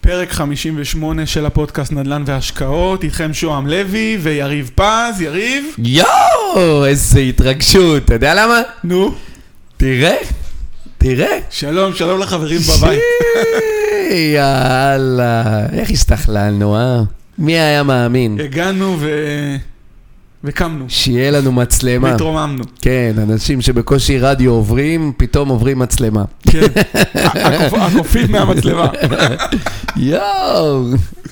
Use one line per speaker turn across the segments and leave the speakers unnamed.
פרק 58 של הפודקאסט נדל"ן והשקעות, איתכם שוהם לוי ויריב פז, יריב,
יואו, איזה התרגשות, אתה יודע למה?
נו,
תראה, תראה.
שלום, שלום לחברים בבית.
שי, יאללה, איך הסתכלנו, אה? מי היה מאמין?
הגענו ו... וקמנו,
שיהיה לנו מצלמה.
והתרוממנו.
כן, אנשים שבקושי רדיו עוברים, פתאום עוברים מצלמה.
כן, הקופ- הקופים מהמצלמה.
יואו,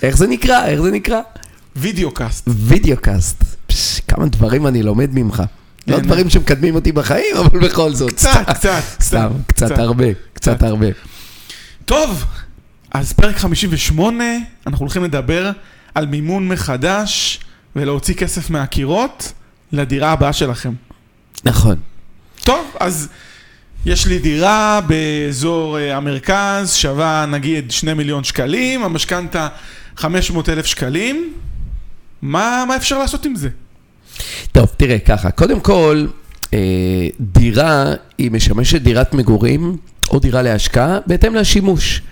איך זה נקרא? איך זה נקרא?
וידאו קאסט.
וידאו קאסט. פש, כמה דברים אני לומד ממך. לא
כן.
דברים שמקדמים אותי בחיים, אבל בכל זאת.
קצת, קצת,
סתם, קצת הרבה,
קצת.
קצת הרבה.
טוב, אז פרק 58, אנחנו הולכים לדבר על מימון מחדש ולהוציא כסף מהקירות לדירה הבאה שלכם.
נכון.
טוב, אז יש לי דירה באזור אה, המרכז, שווה נגיד 2 מיליון שקלים, המשכנתה 500 אלף שקלים. מה, מה אפשר לעשות עם זה?
טוב, תראה, ככה, קודם כל, אה, דירה היא משמשת דירת מגורים או דירה להשקעה בהתאם לשימוש.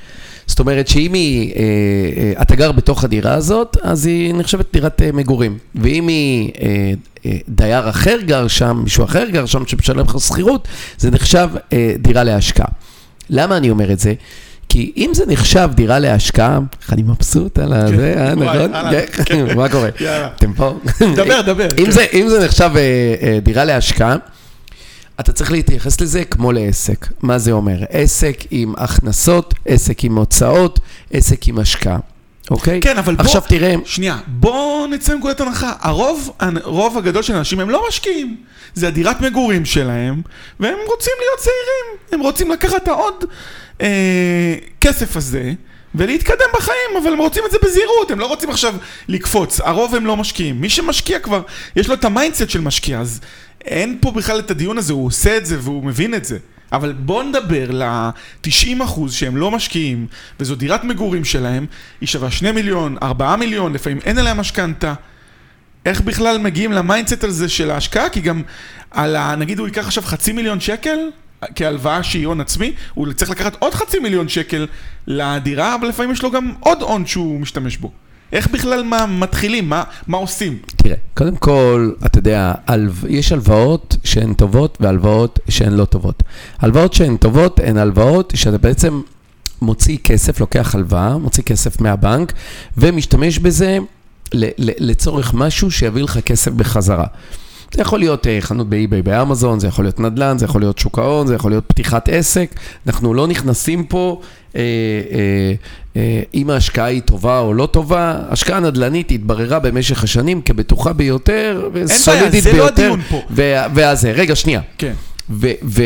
זאת אומרת שאם היא, אה, אה, אתה גר בתוך הדירה הזאת, אז היא נחשבת דירת אה, מגורים. ואם היא, אה, אה, דייר אחר גר שם, מישהו אחר גר שם שמשלם לך שכירות, זה נחשב אה, דירה להשקעה. למה אני אומר את זה? כי אם זה נחשב דירה להשקעה, אני מבסוט על הזה, אה,
כן. וואי,
נכון?
אהלן.
כן, מה קורה?
יאללה.
אתם פה?
דבר, דבר.
אם, זה, אם זה נחשב אה, אה, דירה להשקעה, אתה צריך להתייחס לזה כמו לעסק. מה זה אומר? עסק עם הכנסות, עסק עם הוצאות, עסק עם השקעה, אוקיי?
כן, אבל בוא-
עכשיו תראה,
שנייה, בואו נצא מנקודת הנחה. הרוב, הרוב הגדול של האנשים הם לא משקיעים. זה הדירת מגורים שלהם, והם רוצים להיות צעירים. הם רוצים לקחת את העוד אה, כסף הזה ולהתקדם בחיים, אבל הם רוצים את זה בזהירות, הם לא רוצים עכשיו לקפוץ. הרוב הם לא משקיעים. מי שמשקיע כבר, יש לו את המיינדסט של משקיע, אז אין פה בכלל את הדיון הזה, הוא עושה את זה והוא מבין את זה. אבל בואו נדבר ל-90% שהם לא משקיעים, וזו דירת מגורים שלהם, היא שווה 2 מיליון, 4 מיליון, לפעמים אין עליה משכנתה. איך בכלל מגיעים למיינדסט הזה של ההשקעה? כי גם על ה... נגיד הוא ייקח עכשיו חצי מיליון שקל כהלוואה שהיא הון עצמי, הוא צריך לקחת עוד חצי מיליון שקל לדירה, אבל לפעמים יש לו גם עוד הון שהוא משתמש בו. איך בכלל מה מתחילים? מה, מה עושים?
תראה, קודם כל, אתה יודע, הלו- יש הלוואות שהן טובות והלוואות שהן לא טובות. הלוואות שהן טובות הן הלוואות שאתה בעצם מוציא כסף, לוקח הלוואה, מוציא כסף מהבנק, ומשתמש בזה ל- ל- לצורך משהו שיביא לך כסף בחזרה. זה יכול להיות אה, חנות באי-ביי באמזון, זה יכול להיות נדל"ן, זה יכול להיות שוק ההון, זה יכול להיות פתיחת עסק. אנחנו לא נכנסים פה אה, אה, אה, אם ההשקעה היא טובה או לא טובה. השקעה נדל"נית התבררה במשך השנים כבטוחה ביותר
בעיה,
וסולידית
זה לא
ביותר.
הדיון פה.
וה- והזה, רגע, שנייה.
כן.
ו- ו-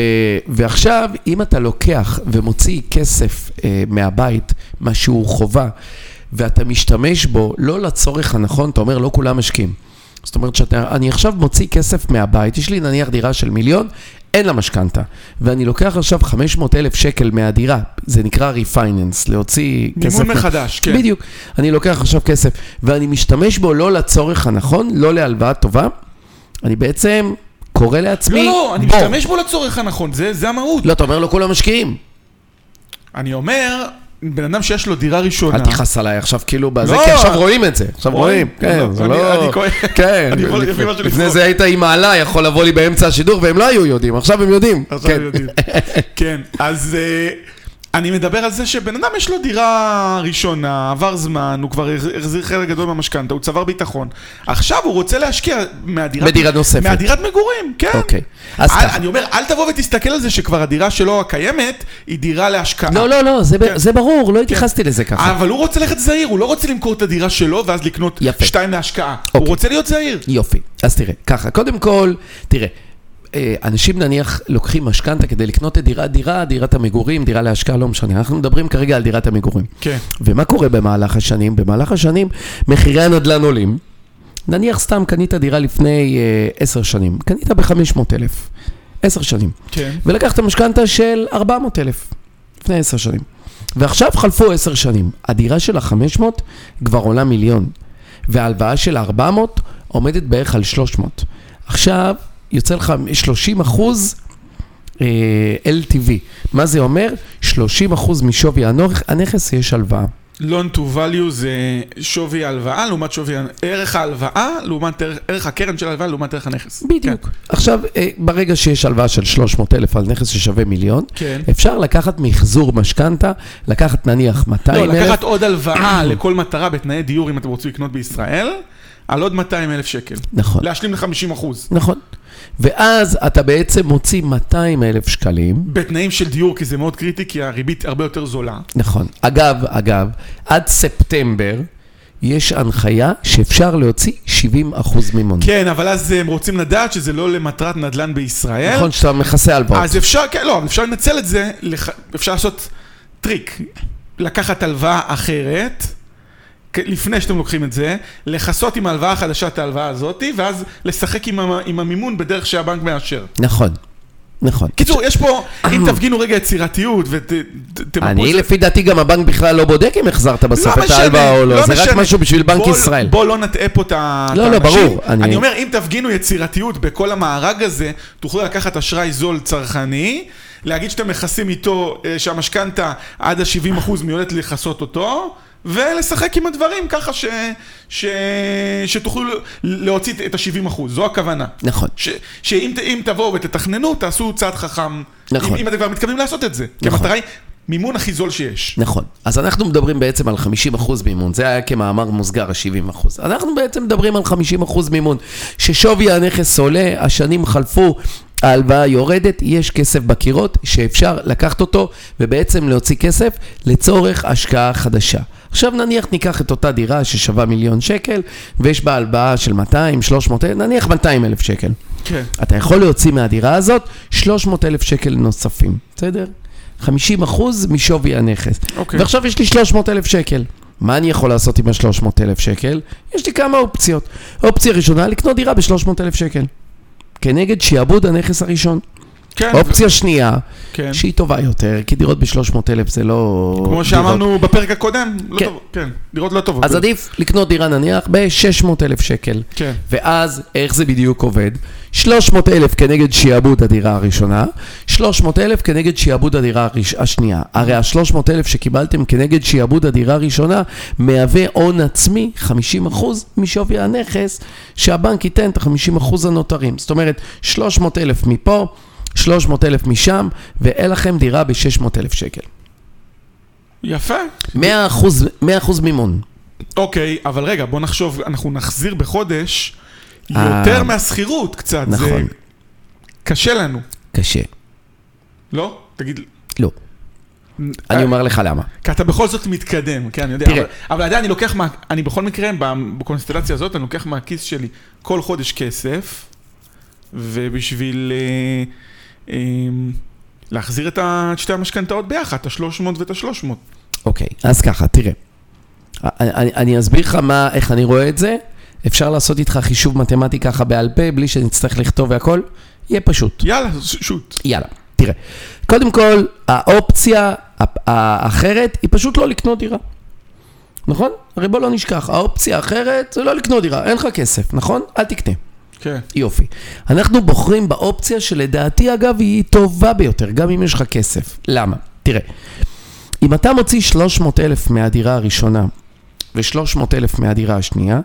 ועכשיו, אם אתה לוקח ומוציא כסף אה, מהבית, מה שהוא חובה, ואתה משתמש בו לא לצורך הנכון, אתה אומר, לא כולם משקיעים. זאת אומרת, שאני עכשיו מוציא כסף מהבית, יש לי נניח דירה של מיליון, אין לה משכנתה, ואני לוקח עכשיו 500 אלף שקל מהדירה, זה נקרא refinance, להוציא כסף...
מימון
מה-
מחדש, כן.
בדיוק. אני לוקח עכשיו כסף, ואני משתמש בו לא לצורך הנכון, לא להלוואה טובה, אני בעצם קורא
לא,
לעצמי...
לא, אני
בור.
משתמש בו לצורך הנכון, זה, זה המהות.
לא, אתה אומר לא כולם משקיעים.
אני אומר, בן אדם שיש לו דירה ראשונה...
אל תכעס עליי עכשיו כאילו בזה,
לא.
כי עכשיו רואים את זה. עכשיו
רואים,
רואים,
לא,
כן, זה
אני-
לא...
אני כועס.
כן,
אני יכול- לפי מה שאני
לפני
זוכר.
זה היית עם מעלה, יכול לבוא לי באמצע השידור, והם לא היו יודעים, עכשיו הם יודעים.
עכשיו
כן.
לא, יודעים. כן, אז אה, אני מדבר על זה שבן אדם יש לו דירה ראשונה, עבר זמן, הוא כבר הח- החזיר חלק גדול מהמשכנתה, הוא צבר ביטחון. עכשיו הוא רוצה להשקיע מהדירת...
בדירה נוספת.
מהדירת מגורים, כן.
אוקיי, אז
אל-
ככה.
אני אומר, אל תבוא ותסתכל על זה שכבר הדירה שלו הקיימת היא דירה להשקעה.
לא, לא, לא, זה ב-
כן.
זה ברור, לא התייחסתי לזה ככה.
אבל הוא רוצה ללכת זהיר, הוא לא רוצה למכור את הדירה שלו ואז לקנות
יפה.
שתיים להשקעה. הוא
אוקיי.
רוצה להיות זהיר.
יופי, אז תראה, ככה, קודם כל, תראה. אה, אנשים נניח לוקחים משכנתה כדי לקנות את דירת דירה, דירת המגורים, דירה להשקעה, לא משנה. אנחנו מדברים כרגע על דירת המגורים.
כן.
ומה קורה במהלך השנים? במהלך השנים מחירי הנדלן עולים. נניח סתם קנית דירה לפני אה, עשר שנים, קנית ב-500,000, עשר שנים,
כן.
ולקחת משכנתה של 400,000 לפני עשר שנים. ועכשיו חלפו עשר שנים, הדירה של ה-500 כבר עולה מיליון, וההלוואה של ה-400 עומדת בערך על 300. עכשיו יוצא לך 30 אחוז אה, LTV, מה זה אומר? 30 אחוז משווי הנכ- הנכס יש הלוואה.
loan to value זה שווי ההלוואה לעומת שווי, ה- ערך ההלוואה לעומת ערך- ערך הקרן של ההלוואה לעומת ערך הנכס.
בדיוק. עכשיו, אה, ברגע שיש הלוואה של 300 אלף על נכס ששווה מיליון,
כן.
אפשר לקחת מחזור משכנתה, לקחת נניח 200
לא,
אלף.
לקחת עוד הלוואה לכל מטרה בתנאי דיור אם אתם רוצים לקנות בישראל, על עוד 200 אלף שקל.
נכון.
להשלים ל-50 אחוז.
נכון. ואז אתה בעצם מוציא 200 אלף שקלים.
בתנאים של דיור, כי זה מאוד קריטי, כי הריבית הרבה יותר זולה.
נכון. אגב, אגב, עד ספטמבר יש הנחיה שאפשר להוציא 70 אחוז מימון.
כן, אבל אז הם רוצים לדעת שזה לא למטרת נדל"ן בישראל.
נכון שאתה מכסה הלוואות.
כן. אז אפשר, כן, לא, אבל אפשר לנצל את זה, לח... אפשר לעשות טריק. לקחת הלוואה אחרת, כ- לפני שאתם לוקחים את זה, לכסות עם ההלוואה החדשה את ההלוואה הזאת, ואז לשחק עם, המ... עם המימון בדרך שהבנק מאשר.
נכון. נכון.
קיצור, יש פה, אם תפגינו רגע יצירתיות ותמפו...
אני לפי דעתי גם הבנק בכלל לא בודק אם החזרת בסוף את
משנה,
ההלוואה או לא,
לא
זה רק
משנה.
משהו בשביל בנק
בוא-
ישראל.
בוא לא נטעה פה את ה- את
לא, לא,
האנשים.
ברור, אני-
אני אומר, אם תפגינו יצירתיות בכל המארג הזה, תוכלו לקחת אשראי זול צרכני, להגיד שאתם מכסים איתו, אה, שהמשכנתה עד ה-70% מיועדת לכסות אותו. ולשחק עם הדברים ככה ש... ש... שתוכלו להוציא את ה-70 אחוז, זו הכוונה.
נכון.
ש... שאם ת... אם תבואו ותתכננו, תעשו צעד חכם.
נכון.
אם, אם אתם כבר מתכוונים לעשות את זה. כי
נכון.
המטרה היא מימון הכי זול שיש.
נכון. אז אנחנו מדברים בעצם על 50% מימון, זה היה כמאמר מוסגר, ה-70%. אנחנו בעצם מדברים על 50% מימון, ששווי הנכס עולה, השנים חלפו, ההלוואה יורדת, יש כסף בקירות שאפשר לקחת אותו ובעצם להוציא כסף לצורך השקעה חדשה. עכשיו נניח ניקח את אותה דירה ששווה מיליון שקל ויש בה הלוואה של 200, 300, נניח 200 אלף שקל.
כן.
אתה יכול להוציא מהדירה הזאת 300 אלף שקל נוספים, בסדר? 50 אחוז משווי הנכס.
אוקיי.
ועכשיו יש לי 300 אלף שקל. מה אני יכול לעשות עם ה-300 אלף שקל? יש לי כמה אופציות. אופציה ראשונה, לקנות דירה ב-300 אלף שקל. כנגד שיעבוד הנכס הראשון.
כן.
אופציה שנייה,
כן.
שהיא טובה יותר, כי דירות ב-300 אלף זה לא...
כמו
דירות.
שאמרנו בפרק הקודם, לא
כן.
טוב, כן, דירות לא טובות.
אז עדיף לקנות דירה נניח ב-600 אלף שקל.
כן.
ואז, איך זה בדיוק עובד? 300 אלף כנגד שיעבוד הדירה הראשונה, 300 אלף כנגד שיעבוד הדירה הראש... השנייה. הרי ה-300 אלף שקיבלתם כנגד שיעבוד הדירה הראשונה, מהווה הון עצמי 50% משווי הנכס, שהבנק ייתן את ה-50% הנותרים. זאת אומרת, 300 אלף מפה, 300 אלף משם, ואין לכם דירה ב-600 אלף שקל.
יפה.
100%, 100% מימון.
אוקיי, אבל רגע, בוא נחשוב, אנחנו נחזיר בחודש
אה.
יותר מהשכירות קצת. זה
נכון.
קשה לנו,
קשה.
לא? תגיד, אה,
לא. אני אומר לך למה.
כי אתה בכל זאת מתקדם, כן, אני יודע.
תראה.
אבל- אבל עדיין אני לוקח מה... אני בכל מקרה, ב- בקונסטלציה הזאת, אני לוקח מהכיס שלי כל חודש כסף, ובשביל אה, אה, להחזיר את ה- את שתי המשכנתאות ביחד, את ה-300 ואת ה-300.
אוקיי, אז ככה, תראה. אני, אני, אני אסביר לך מה, איך אני רואה את זה. אפשר לעשות איתך חישוב מתמטי ככה בעל פה, בלי שנצטרך לכתוב והכל. יהיה פשוט.
יאללה, ש- שוט.
יאללה, תראה. קודם כל, האופציה ה- האחרת היא פשוט לא לקנות דירה. נכון? הרי בוא לא נשכח, האופציה האחרת זה לא לקנות דירה, אין לך כסף, נכון? אל תקנה.
כן.
יופי. אנחנו בוחרים באופציה שלדעתי, אגב, היא טובה ביותר, גם אם יש לך כסף. למה? תראה, אם אתה מוציא 300 אלף מהדירה הראשונה ו-300 אלף מהדירה השנייה,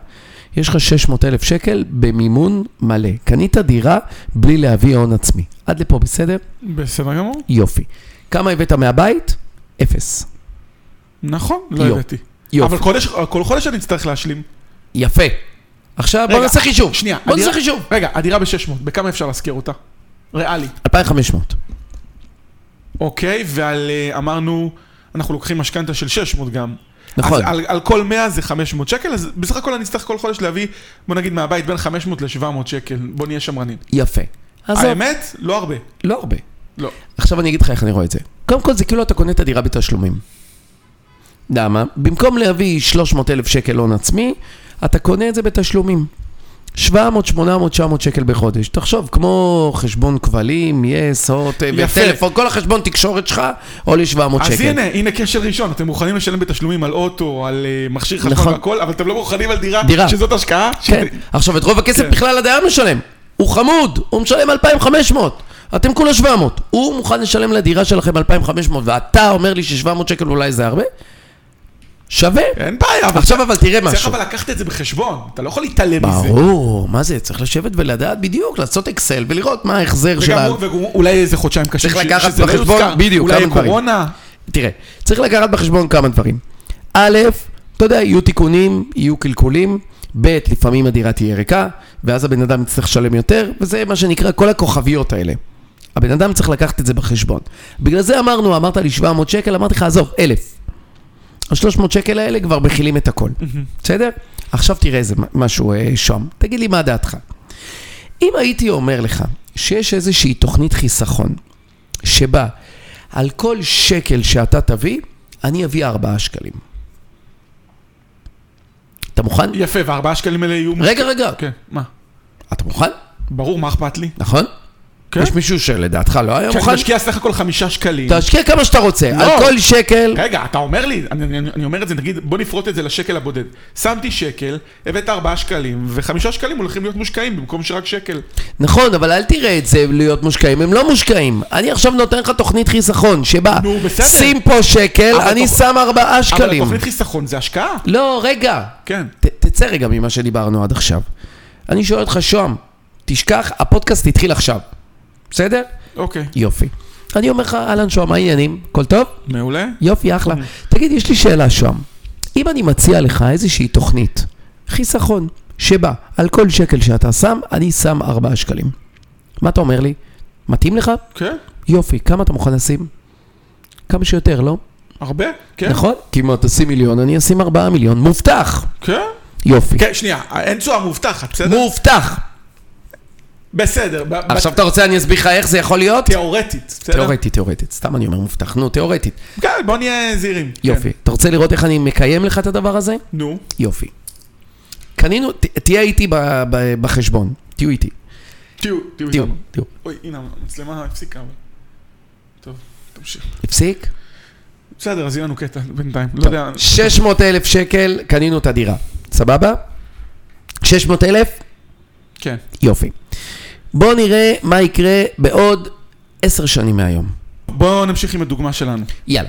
יש לך 600 אלף שקל במימון מלא. קנית דירה בלי להביא הון עצמי. עד לפה בסדר?
בסדר גמור.
יופי. כמה הבאת מהבית? אפס.
נכון, לא
יופי.
הבאתי.
יופי.
אבל חודש, כל חודש אני אצטרך להשלים.
יפה. עכשיו בוא
רגע,
נעשה חישוב.
שנייה,
בוא
הדירה-
נעשה חישוב.
רגע, הדירה ב-600, בכמה אפשר להשכיר אותה? ריאלי.
2,500.
אוקיי, ועל, אה, אמרנו, אנחנו לוקחים משכנתה של 600 גם.
נכון.
אז על, על כל 100 זה 500 שקל, אז בסך הכל אני אצטרך כל חודש להביא, בוא נגיד מהבית בין 500 ל-700 שקל, בוא נהיה שמרנים.
יפה. עזוב.
האמת, לא הרבה.
לא הרבה.
לא.
עכשיו אני אגיד לך איך אני רואה את זה. קודם כל זה כאילו אתה קונה את הדירה בתשלומים. למה? במקום להביא 300 אלף שקל הון עצמי, אתה קונה את זה בתשלומים. 700, 800, 900 שקל בחודש. תחשוב, כמו חשבון כבלים, יס, הוט,
יפה.
וטלפון, כל החשבון תקשורת שלך עולה 700
אז
שקל.
הנה, הנה קשר ראשון, אתם מוכנים לשלם בתשלומים על אוטו, על אה, מכשיר חשמל
נכון.
והכל, אבל אתם לא מוכנים על דירה,
דירה.
שזאת השקעה? ש-
כן. עכשיו, את רוב הכסף
כן.
בכלל הדייר משלם. הוא חמוד, הוא משלם 2,500. אתם כולה 700. הוא מוכן לשלם לדירה שלכם 2,500, ואתה אומר לי ש-700 שקל אולי זה הרבה? שווה.
אין בעיה, אבל
עכשיו אבל תראה
כן. צריך
משהו.
אבל לקחת את זה בחשבון, אתה לא יכול להתעלם מזה.
ברור, מה זה? צריך לשבת ולדעת בדיוק, לעשות אקסל ולראות מה ההחזר של
וגם
ה...
הוא- וגם אולי איזה חודשיים קשים,
צריך
ש-
לקחת
שזה לא
בחשבון,
יוזכר.
בדיוק,
אולי
כמה דברים.
קורונה,
תראה, צריך לקחת בחשבון כמה דברים. א', אתה יודע, יהיו תיקונים, יהיו קלקולים, ב', לפעמים הדירה תהיה ריקה, ואז הבן אדם יצטרך לשלם יותר, וזה מה שנקרא כל הכוכביות האלה. הבן אדם צריך לקחת את זה בחשבון. בגלל זה אמרנו, אמרת לי 700 שקל, אמרתי לך, עזוב, 1,000. ה-300 שקל האלה כבר מכילים את הכל, בסדר? עכשיו תראה איזה מ- משהו אה, שם, תגיד לי מה דעתך. אם הייתי אומר לך שיש איזושהי תוכנית חיסכון, שבה על כל שקל שאתה תביא, אני אביא 4 שקלים. אתה מוכן?
יפה, והארבעה שקלים האלה יהיו...
רגע, רגע.
כן, מה?
אתה מוכן?
ברור, מה אכפת לי?
נכון?
כן.
יש מישהו שלדעתך לא היה
כשאני
מוכן?
משקיע סך הכל חמישה שקלים.
תשקיע כמה שאתה רוצה,
לא.
על כל שקל.
רגע, אתה אומר לי, אני, אני, אני אומר את זה, נגיד, בוא נפרוט את זה לשקל הבודד. שמתי שקל, הבאת ארבעה שקלים, וחמישה שקלים הולכים להיות מושקעים במקום שרק שקל.
נכון, אבל אל תראה את זה להיות מושקעים, הם לא מושקעים. אני עכשיו נותן לך תוכנית חיסכון, שבה
נו, בסדר.
שים פה שקל,
אבל
אני
תוכ-
שם 4
אבל
שקלים.
התוכנית חיסכון זה השקעה.
לא, רגע.
כן.
ת, תצא רגע ממה שדיברנו עד עכשיו. אני שואל אותך, שוהם, תשכח, הפודקאסט התחיל עכשיו, בסדר?
אוקיי.
יופי. אני אומר לך, אהלן שוהם, מה העניינים? הכל טוב?
מעולה.
יופי, אחלה.
כן.
תגיד, יש לי שאלה שוהם. אם אני מציע לך איזושהי תוכנית, חיסכון, שבה על כל שקל שאתה שם, אני שם 4 שקלים. מה אתה אומר לי? מתאים לך?
כן,
יופי, כמה אתה מוכן לשים? כמה שיותר, לא?
הרבה. כן.
נכון? כי אם אתה תשים מיליון, אני אשים 4 מיליון. מובטח!
כן.
יופי.
כן, שנייה, אין תשואה מובטחת, בסדר?
מובטח!
בסדר. ב- ב-
עכשיו אתה רוצה, אני אסביר לך איך זה יכול להיות?
תיאורטית, בסדר?
תיאורטית, תיאורטית. סתם אני אומר מובטח. נו, תיאורטית.
כן, בוא נהיה זהירים. כן.
יופי. אתה רוצה לראות איך אני מקיים לך את הדבר הזה?
נו,
יופי. קנינו, ת- תהיה איתי ב- ב- בחשבון. תהיו איתי.
תהיו, תהיו
תהיו,
איתנו.
תהיו.
אוי, הנה, המצלמה הפסיקה. אבל. טוב, תמשיך.
הפסיק?
בסדר, אז יהיה לנו קטע בינתיים. לא יודע.
600 אלף שקל, קנינו את הדירה. סבבה? 600 אלף?
כן.
יופי. בואו נראה מה יקרה בעוד 10 שנים מהיום.
בואו נמשיך עם הדוגמה שלנו.
יאללה.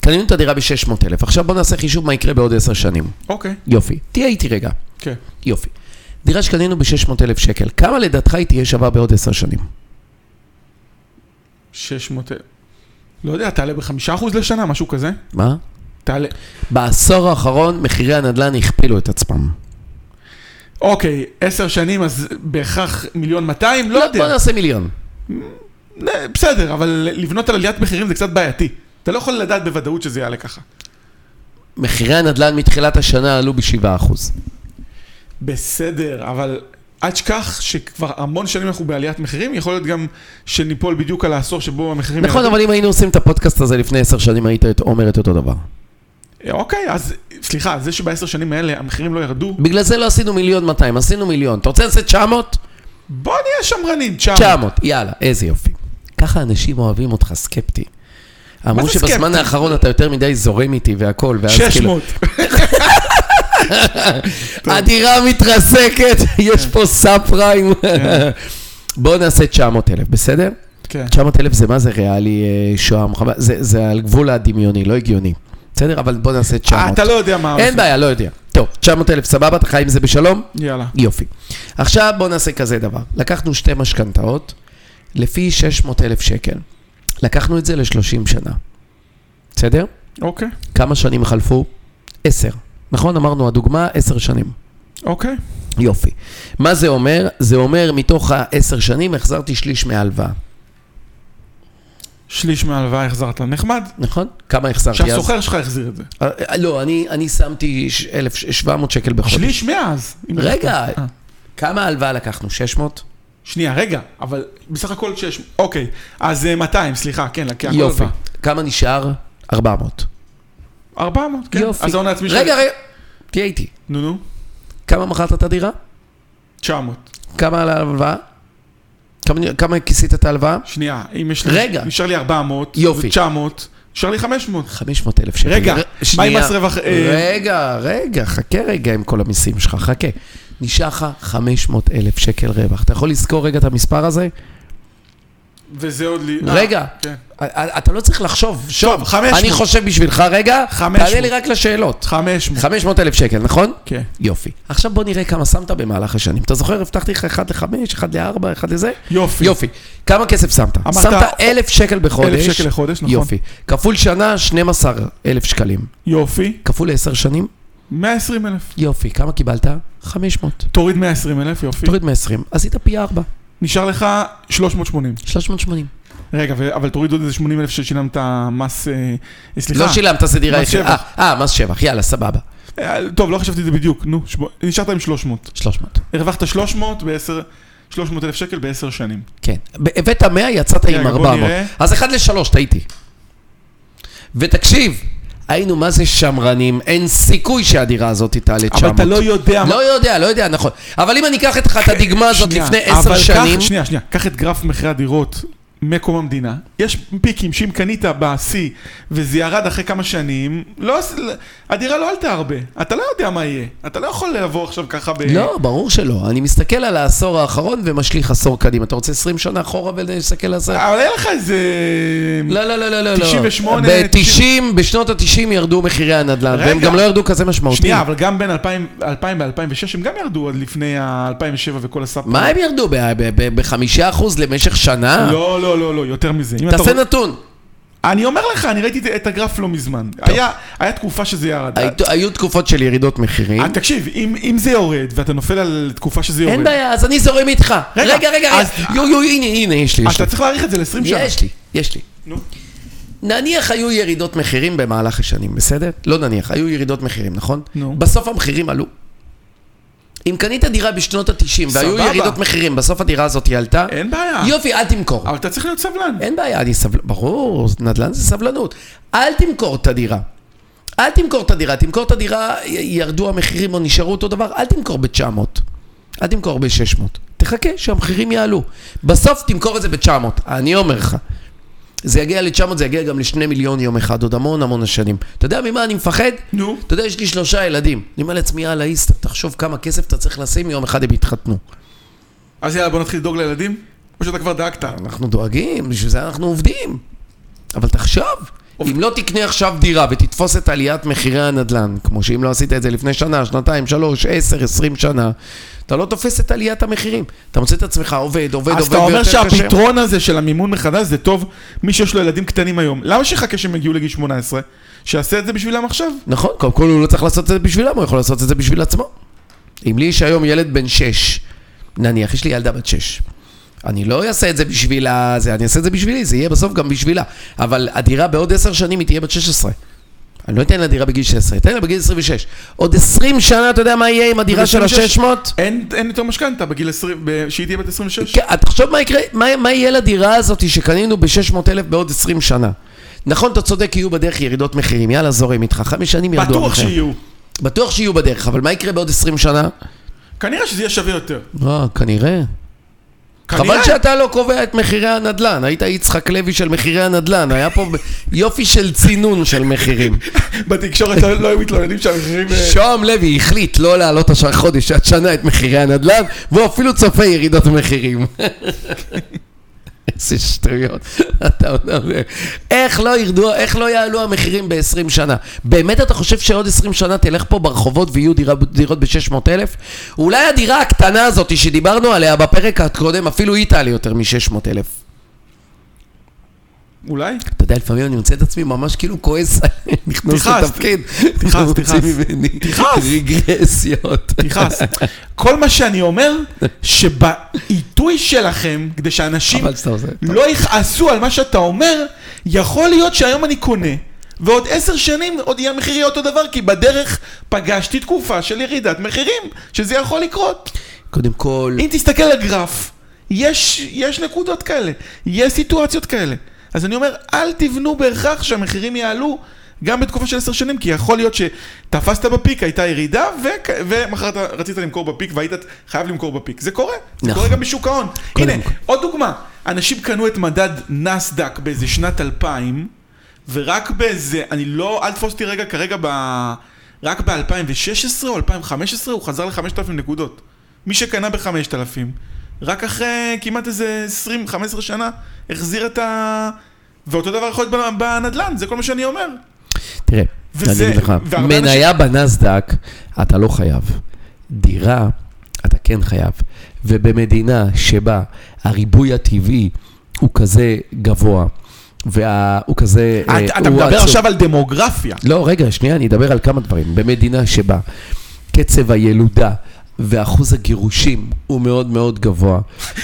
קנינו את הדירה ב-600 אלף. עכשיו בואו נעשה חישוב מה יקרה בעוד 10 שנים.
אוקיי,
יופי. תהיה איתי רגע.
כן.
יופי. דירה שקנינו ב-600,000 שקל, כמה לדעתך היא תהיה שווה בעוד עשר שנים?
600... לא יודע, תעלה בחמישה אחוז לשנה, משהו כזה?
מה?
תעלה...
בעשור האחרון מחירי הנדל"ן הכפילו את עצמם.
אוקיי, עשר שנים, אז בהכרח מיליון 200? לא
בוא
יודע.
נעשה מיליון.
נ- בסדר, אבל לבנות על עליית מחירים זה קצת בעייתי. אתה לא יכול לדעת בוודאות שזה יעלה ככה.
מחירי הנדל"ן מתחילת השנה עלו ב-7%.
בסדר, אבל אל תשכח שכבר המון שנים אנחנו בעליית מחירים, יכול להיות גם שניפול בדיוק על העשור שבו המחירים...
נכון,
ירדו.
אבל אם היינו עושים את הפודקאסט הזה לפני עשר שנים, היית אומר את אותו דבר.
אוקיי, אז סליחה, זה שבעשר שנים האלה המחירים לא ירדו,
בגלל זה לא עשינו מיליון 200, עשינו מיליון. אתה רוצה לעשות 900?
בוא נהיה שמרנים, 900.
900, יאללה, איזה יופי. ככה אנשים אוהבים אותך סקפטי. אמרו
זה
שבזמן
סקפטי?
האחרון אתה יותר מדי זורם איתי והכל, ואז כאילו...
600. כן.
הדירה מתרסקת, יש פה סאב פריים. בואו נעשה 900 אלף, בסדר?
כן.
900 אלף זה מה זה ריאלי, אה, שוהם, חבל- זה זה על גבול הדמיוני, לא הגיוני. בסדר? אבל בואו נעשה
אה,
900.
אתה לא יודע מה...
אין בעיה, לא יודע. טוב, 900 אלף, סבבה, אתה חי עם זה בשלום?
יאללה.
יופי. עכשיו בואו נעשה כזה דבר. לקחנו שתי משכנתאות, לפי 600 אלף שקל. לקחנו את זה ל-30 שנה. בסדר?
אוקיי,
כמה שנים חלפו? 10. נכון? אמרנו, הדוגמה, 10 שנים.
אוקיי.
יופי. מה זה אומר? זה אומר מתוך העשר שנים החזרתי שליש מההלוואה,
שליש מההלוואה החזרת, נחמד.
נכון? כמה החזרתי אז?
שהסוחר שלך החזיר את זה.
אה, אה, לא, אני, אני שמתי ש- 1,700 שקל בחודש.
שליש מאז. אם
רגע.
אתה- אה.
כמה הלוואה לקחנו? 600?
שנייה, רגע, אבל בסך הכל 600. אוקיי, אז אה, 200, סליחה, כן, כי הכל
יופי.
הלוואה.
כמה נשאר? 400.
400, כן.
יופי.
אז ההון העצמי
רגע, רגע, תהיה איתי.
נו, נו.
כמה מכרת את הדירה?
900.
כמה על ההלוואה? כמה, כמה כיסית את ההלוואה?
שנייה, אם יש לי...
רגע.
נשאר לי 400.
יופי.
זה 900. נשאר לי 500.
500 אלף שקל.
רגע,
ר-
מה עם
שנייה.
מס רווח, אה,
רגע, רגע, חכה רגע עם כל המיסים שלך, חכה. נשאר לך 500 אלף שקל רווח. אתה יכול לזכור רגע את המספר הזה?
וזה עוד לי... אה,
רגע,
כן.
אתה לא צריך לחשוב, שוב,
טוב, 500.
אני חושב בשבילך רגע,
500.
תענה לי רק לשאלות.
500.
500 אלף שקל, נכון?
כן.
יופי. עכשיו בוא נראה כמה שמת במהלך השנים. אתה זוכר, הבטחתי לך 1 ל-5, 1 ל-4, 1 לזה?
יופי.
יופי. כמה כסף שמת?
אמרת-
שמת 1,000 שקל בחודש.
1,000 שקל לחודש, נכון.
יופי. כפול שנה, 12,000 שקלים.
יופי.
כפול 10 שנים,
120 אלף.
יופי. כמה קיבלת? 500.
תוריד 120 אלף, יופי.
תוריד מ-20, עשית פי 4,
נשאר לך 380.
380.
רגע, ו- אבל תוריד עוד איזה 80 אלף ששילמת מס... אה, סליחה.
לא שילמת, זה דירה
מס
יחידה.
שבח.
אה, אה, מס שבח, יאללה, סבבה.
אה, טוב, לא חשבתי את זה בדיוק. נו, שבו- נשארת עם 300.
300.
הרווחת 300 ב-10... 300 אלף שקל בעשר שנים.
כן. ב- הבאת 100, יצאת
רגע,
עם
בוא
400.
כן, נראה.
אז 1 ל-3, טעיתי. ותקשיב, היינו מה זה שמרנים, אין סיכוי שהדירה הזאת תעלה 900.
אבל אתה לא יודע מה... כן,
לא יודע, לא יודע, נכון. אבל אם אני אקח איתך את הדגמה הזאת
שנייה,
לפני
אבל
10
קח-
שנים...
שנייה, שנייה. קח את גרף מחירי הדירות מקום המדינה. יש פיקים שאם קנית בשיא וזה ירד אחרי כמה שנים, לא, עש- הדירה לא עלתה הרבה. אתה לא יודע מה יהיה. אתה לא יכול לבוא עכשיו ככה ב...
לא, ברור שלא. אני מסתכל על העשור האחרון ומשליך עשור קדימה. אתה רוצה 20 שנה אחורה ולהסתכל על זה?
אבל אין לך איזה...
לא, לא, לא, לא, לא.
98,
ב-90, בשנות ה-90 ירדו מחירי הנדל"ן,
רגע.
והם גם לא ירדו כזה משמעותי.
שנייה, אבל גם בין 2000 ל-2006 הם גם ירדו עד לפני ה-2007 וכל הסאפ...
מה הם ירדו? בחמישה אחוז למשך שנה?
לא, לא, לא, לא, יותר מזה. אם אתה
תעשה
רוצ-
נתון.
אני אומר לך, אני ראיתי את- את הגרף לא מזמן. היה- היה תקופה שזה ירד.
היית- היו תקופות של ירידות מחירים.
אה, תקשיב, אם, אם זה יורד, ואתה נופל על תקופה שזה יורד,
אין בעיה, אז אני זורם איתך.
רגע,
רגע, רגע, רגע.
אז-
יו, יו, הנה, הנה, יש לי, יש לי.
אתה צריך להעריך את זה ל-20 שנה.
יש לי, יש לי.
נו.
נניח היו ירידות מחירים במהלך השנים, בסדר? לא נניח, היו ירידות מחירים, נכון?
נו.
בסוף המחירים עלו. אם קנית דירה בשנות ה-90 והיו
סבבה.
ירידות מחירים, בסוף הדירה הזאת היא עלתה,
אין בעיה.
יופי, אל תמכור.
אבל אתה צריך להיות סבלן.
אין בעיה, אני סבל... ברור, נדל"ן זה סבלנות. אל תמכור את הדירה. אל תמכור את הדירה, תמכור את הדירה, י- ירדו המחירים או נשארו אותו דבר, אל תמכור ב-900. אל תמכור ב-600. תחכה שהמחירים יעלו. בסוף תמכור את זה ב-900, אני אומר לך. זה יגיע ל-900, זה יגיע גם לשני מיליון יום אחד, עוד המון המון שנים. אתה יודע ממה אני מפחד?
נו.
אתה יודע, יש לי שלושה ילדים. אני אומר לעצמי, יאללה איסט, תחשוב כמה כסף אתה צריך לשים, יום אחד הם יתחתנו.
אז יאללה, בוא נתחיל לדאוג לילדים, או שאתה כבר דאגת.
אנחנו דואגים, בשביל זה אנחנו עובדים. אבל תחשוב, אם לא תקנה עכשיו דירה ותתפוס את עליית מחירי הנדל"ן, כמו שאם לא עשית את זה לפני שנה, שנתיים, שלוש, עשר, עשרים שנה, אתה לא תופס את עליית המחירים. אתה מוצא את עצמך עובד, עובד, עובד,
אז אתה אומר שהפתרון הזה של המימון מחדש זה טוב, מי שיש לו ילדים קטנים היום. למה שיחכה שהם יגיעו לגיל 18? שיעשה את זה בשבילם עכשיו.
נכון, קודם כל הוא לא צריך לעשות את זה בשבילם, הוא יכול לעשות את זה בשביל עצמו. אם לי יש היום ילד בן שש, נניח, יש לי ילדה בת שש. אני לא אעשה את זה בשבילה, זה, אני אעשה את זה בשבילי, זה יהיה בסוף גם בשבילה. אבל הדירה בעוד עשר שנים היא תהיה בת 16. אני לא אתן לה דירה בגיל 16, אתן לה בגיל 26. עוד 20 שנה, אתה יודע מה יהיה עם הדירה של
ב-26?
ה-600?
אין אין יותר משכנתה בגיל 20, ב- שהיא תהיה בת 26.
כן, תחשוב מה יקרה, מה, מה יהיה לדירה הזאת שקנינו ב-600 אלף בעוד 20 שנה. נכון, אתה צודק, יהיו בדרך ירידות מחירים, יאללה, זורם איתך, חמש שנים ירדו
בטוח
המחירים.
שיהיו.
בטוח שיהיו בדרך, אבל מה יקרה בעוד 20 שנה?
כנראה שזה יהיה שווה יותר.
אה, כנראה. חבל
כנראה.
שאתה לא קובע את מחירי הנדל"ן, היית יצחק לוי של מחירי הנדל"ן, היה פה ב- יופי של צינון של מחירים.
בתקשורת לא- לא היו מתלוננים שהמחירים... אה,
שוהם לוי החליט לא להעלות השנה חודש עד שנה את מחירי הנדל"ן, והוא אפילו צופה ירידות מחירים. איזה שטויות, אתה אומר. איך לא ירדו, איך לא יעלו המחירים ב-20 שנה? באמת אתה חושב שעוד 20 שנה תלך פה ברחובות ויהיו דירה, דירות ב-600,000? אולי הדירה הקטנה הזאת שדיברנו עליה בפרק הקודם, אפילו היא תעלה יותר מ-600,000.
אולי?
אתה יודע, לפעמים אני מוצא את עצמי ממש כאילו כועס, נכנס
תכעס,
לתפקיד.
תכעס,
מוציא
תכעס.
ממני
תכעס.
רגרסיות.
תכעס. כל מה שאני אומר, שבעיתוי שלכם, כדי שאנשים
אבל שאתה עושה.
לא יכעסו על מה שאתה אומר, יכול להיות שהיום אני קונה, ועוד עשר שנים עוד יהיה המחיר יהיה אותו דבר, כי בדרך פגשתי תקופה של ירידת מחירים, שזה יכול לקרות.
קודם כל,
אם תסתכל על הגרף, יש, יש נקודות כאלה, יש סיטואציות כאלה. אז אני אומר, אל תבנו בהכרח שהמחירים יעלו. גם בתקופה של עשר שנים, כי יכול להיות שתפסת בפיק, הייתה ירידה, וכ- ומחר אתה רצית למכור בפיק והיית חייב למכור בפיק. זה קורה, זה
נכון.
קורה גם בשוק ההון.
קודם
הנה,
כל.
עוד דוגמה, אנשים קנו את מדד נסדק באיזה שנת 2000, ורק באיזה, אני לא, אל תפוס אותי רגע כרגע ב... רק ב-2016 או 2015 הוא חזר ל-5,000 נקודות. מי שקנה ב-5,000, רק אחרי כמעט איזה 20-15 שנה, החזיר את ה... ואותו דבר יכול להיות ב- בנדל"ן, זה כל מה שאני אומר.
תראה,
וזה-
אני אגיד לך,
והרבה אנשים-
מניה בנסדק, אתה לא חייב. דירה, אתה כן חייב. ובמדינה שבה הריבוי הטבעי הוא כזה גבוה, והוא כזה... אה,
אתה אתה
הוא
מדבר
עצום.
עכשיו על דמוגרפיה.
לא, רגע, שנייה, אני אדבר על כמה דברים. במדינה שבה קצב הילודה ואחוז הגירושים הוא מאוד מאוד גבוה.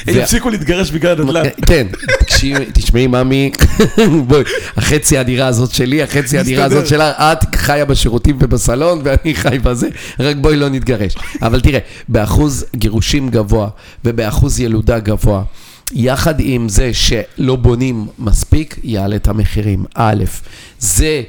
הם הפסיקו להתגרש בגלל הנדל"ן.
כן, תקשיב- תשמעי, ממי, בואי, החצי הדירה הזאת שלי, החצי הדירה הזאת
מסתדר.
שלה, את חיה בשירותים ובסלון ואני חי בזה, רק בואי לא נתגרש. אבל תראה, באחוז גירושים גבוה ובאחוז ילודה גבוה, יחד עם זה שלא בונים מספיק, יעלה את המחירים. א', זה אה,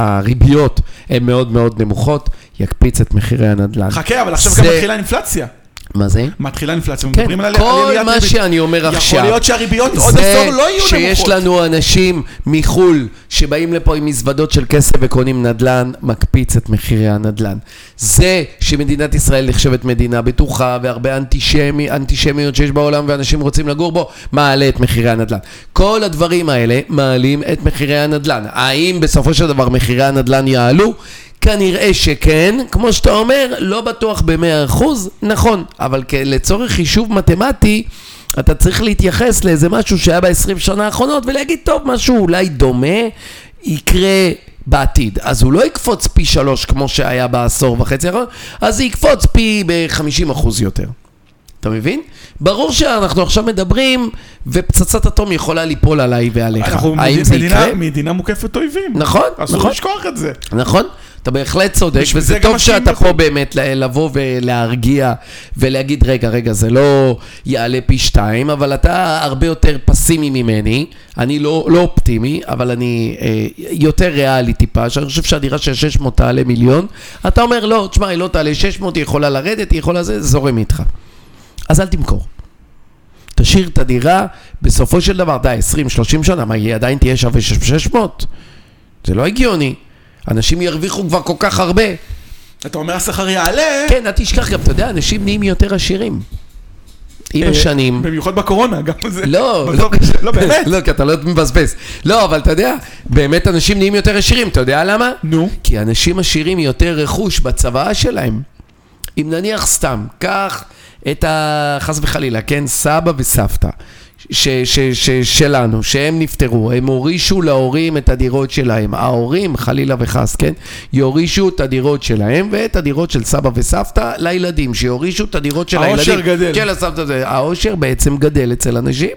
שהריביות אה, הן מאוד מאוד נמוכות, יקפיץ את מחירי הנדל"ן.
חכה, אבל עכשיו
זה-
גם מתחילה אינפלציה.
מה זה?
מתחילה אינפלציה,
כן,
מדברים על על
כל
עליית
מה
ריבית.
שאני אומר עכשיו,
יכול להיות שהריביות עוד
זה
עשור לא יהיו
שיש
נמוכות.
לנו אנשים מחו"ל שבאים לפה עם מזוודות של כסף וקונים נדל"ן, מקפיץ את מחירי הנדל"ן. זה שמדינת ישראל נחשבת מדינה בטוחה והרבה אנטישמי, אנטישמיות שיש בעולם ואנשים רוצים לגור בו, מעלה את מחירי הנדל"ן. כל הדברים האלה מעלים את מחירי הנדל"ן. האם בסופו של דבר מחירי הנדל"ן יעלו? כנראה שכן, כמו שאתה אומר, לא בטוח ב-100%, נכון, אבל כ- לצורך חישוב מתמטי, אתה צריך להתייחס לאיזה משהו שהיה ב-20 שנה האחרונות ולהגיד, טוב, משהו אולי דומה יקרה בעתיד. אז הוא לא יקפוץ פי שלוש כמו שהיה בעשור וחצי האחרון, אז זה יקפוץ פי ב-50% יותר. אתה מבין? ברור שאנחנו עכשיו מדברים, ופצצת אטום יכולה ליפול עליי ועליך.
אנחנו
אה, האם זה
מדינה-
יקרה?
מדינה מוקפת אויבים.
נכון,
אסור
נכון.
לשכוח את זה.
נכון, אתה בהחלט צודק,
בשביל
וזה
זה גם
טוב
משקיעים
שאתה פה
בחו"ל.
באמת ל- לבוא ולהרגיע ולהגיד, רגע, רגע, זה לא יעלה פי שתיים, אבל אתה הרבה יותר פסימי ממני, אני לא, לא אופטימי, אבל אני אה, יותר ריאלי טיפה, שאני חושב שהדירה של 600 תעלה מיליון, אתה אומר, לא, תשמע, היא לא תעלה 600, היא יכולה לרדת, היא יכולה זה, זורם איתך. אז אל תמכור. תשאיר את הדירה, בסופו של דבר, די, 20-30 שנה, מה, היא עדיין תהיה שווה 600? זה לא הגיוני. אנשים ירוויחו כבר כל כך הרבה.
אתה אומר השכר יעלה.
כן, אל תשכח גם, אתה יודע, אנשים נהיים יותר עשירים. עם
אה,
השנים.
במיוחד בקורונה, גם זה.
לא,
בסוף יש- לא, באמת.
לא, כי אתה לא מבזבז. לא, אבל אתה יודע, באמת אנשים נהיים יותר עשירים, אתה יודע למה?
נו.
כי אנשים עשירים יותר רכוש בצוואה שלהם. אם נניח סתם, קח את ה... חס וחלילה, כן? סבא וסבתא ש- ש- ש- שלנו, שהם נפטרו, הם הורישו להורים את הדירות שלהם. ההורים, חלילה וחס, כן? יורישו את הדירות שלהם ואת הדירות של סבא וסבתא לילדים, שיורישו את הדירות של
העושר
הילדים.
גדל.
של הסבתא, זה- העושר בעצם גדל אצל אנשים.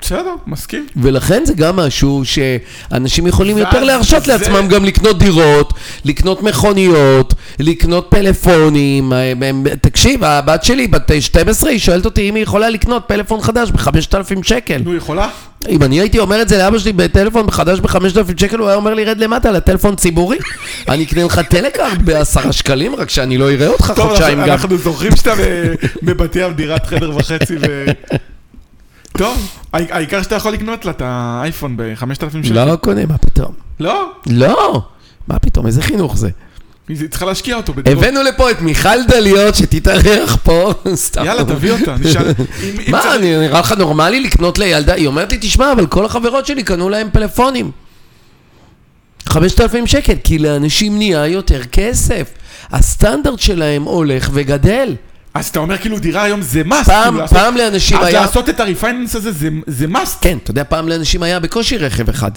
בסדר, מסכים.
ולכן זה גם משהו שאנשים יכולים יותר
ואז
להרשות
זה-
לעצמם גם לקנות דירות, לקנות מכוניות, לקנות פלאפונים. אה, הם- הם- תקשיב, הבת שלי, בת 12, היא שואלת אותי אם היא יכולה לקנות פלאפון חדש ב-5,000 שקל.
נו, יכולה?
אם אני הייתי אומר את זה לאבא שלי בטלפון חדש ב-5,000 שקל, הוא היה אומר לי, רד למטה לטלפון ציבורי. אני אקנה לך טלקארד בעשרה שקלים, רק שאני לא אראה אותך
טוב,
חודשיים
אנחנו-
גם.
אנחנו זוכרים שאתה ב- בבת ים דירת חדר וחצי ו... טוב, העי- העיקר שאתה יכול לקנות לה את האייפון ב-5,000 שקל.
לא קונה, מה פתאום?
לא,
לא! מה פתאום, איזה חינוך זה?
היא צריכה להשקיע אותו בדירות.
הבאנו לפה את מיכל דליות שתתארח פה, סתם.
יאללה, תביא אותה, נשאל. אם- אם
מה,
צריך-
אני- נראה לך נורמלי לקנות לילדה? היא אומרת לי, תשמע, אבל כל החברות שלי קנו להם פלאפונים. 5,000 שקל, כי לאנשים נהיה יותר כסף. הסטנדרט שלהם הולך וגדל.
אז אתה אומר כאילו דירה היום זה must.
פעם-
כאילו, לעשות-
פעם לאנשים
אז
היה-
לעשות את הריפייננס הזה זה- זה must.
כן, אתה יודע, פעם לאנשים היה בקושי רכב אחד.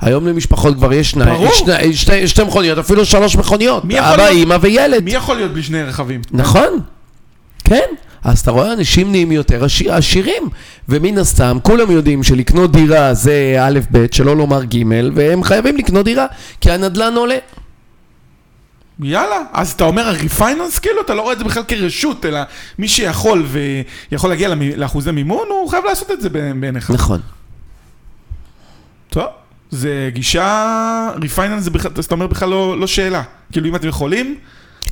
היום למשפחות כבר יש שני-
ברור.
שני- שתי- שתי מכוניות, אפילו שלוש מכוניות.
מי יכול
אבא,
להיות-
אימא וילד.
מי יכול להיות בלי שני רכבים?
נכון, כן. אז אתה רואה, אנשים נהיים יותר עשי- עשירים, ומן הסתם, כולם יודעים שלקנות דירה זה א', ב', שלא לומר ג', והם חייבים לקנות דירה, כי הנדלן עולה.
יאללה, אז אתה אומר הריפייננס כאילו, אתה לא רואה את זה בכלל כרשות, אלא מי שיכול ויכול להגיע למי- לאחוזי מימון, הוא חייב לעשות את זה בעין- בעיניך.
נכון.
טוב, זה גישה, ריפייננס זה בכלל, אז אתה אומר בכלל לא לא שאלה. כאילו אם אתם יכולים,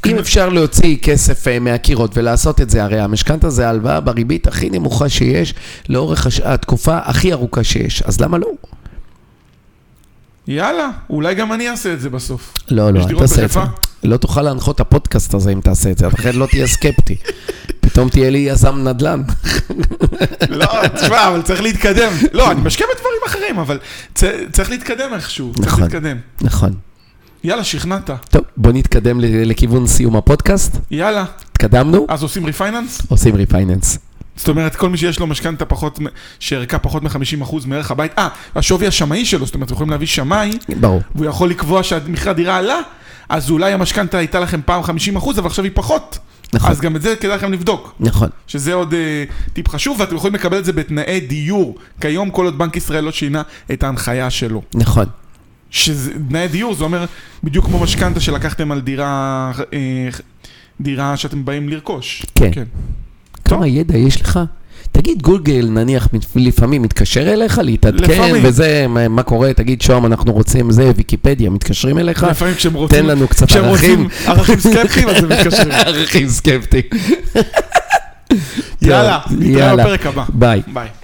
אם אפשר להוציא כסף אה, מהקירות ולעשות את זה, הרי המשכנתה זה ההלוואה בריבית הכי נמוכה שיש, לאורך הש- התקופה הכי ארוכה שיש, אז למה לא?
יאללה, אולי גם אני אעשה את זה בסוף.
לא,
יש
לא, אל
דירות
תעשה את זה.
בחיפה?
לא תוכל להנחות את הפודקאסט הזה אם תעשה את זה, אחרת לא תהיה סקפטי. פתאום תהיה לי יזם נדל"ן.
לא, תשמע, אבל צריך להתקדם. לא, אני משקיע בדברים אחרים, אבל צ- צריך להתקדם איכשהו. צריך
נכון.
להתקדם.
נכון.
יאללה, שכנעת.
טוב, בוא נתקדם ל- לכיוון סיום הפודקאסט.
יאללה.
התקדמנו,
אז עושים ריפייננס?
עושים ריפייננס.
זאת אומרת, כל מי שיש לו משכנתה פחות, מ- שערכה פחות מ-50% מערך הבית, אה, השווי השמאי שלו, זאת אומרת, יכולים להביא שמאי,
ברור.
והוא יכול לקבוע שמחיר הדירה עלה, אז אולי המשכנתה הייתה לכם פעם 50%, אבל עכשיו היא פחות.
נכון.
אז גם את זה כדאי לכם לבדוק.
נכון.
שזה עוד אה, טיפ חשוב, ואתם יכולים לקבל את זה בתנאי דיור. כיום כל עוד בנק ישראל לא שינה את ההנחיה שלו.
נכון.
שתנאי דיור זה אומר בדיוק כמו משכנתה שלקחתם על דירה, אה, דירה שאתם באים לרכוש.
כן. כמה ידע יש לך? תגיד, גוגל נניח מת- לפעמים מתקשר אליך להתעדכן
לפעמים.
וזה, מה- מה קורה, תגיד שוהם אנחנו רוצים זה, ויקיפדיה, מתקשרים אליך,
לפעמים כשהם רוצים,
תן לנו קצת
כשהם
ערכים.
רוצים ערכים סקפטיים אז הם מתקשרים.
ערכים סקפטיים.
יאללה, נתראה
יאללה.
בפרק הבא.
ביי.
ביי.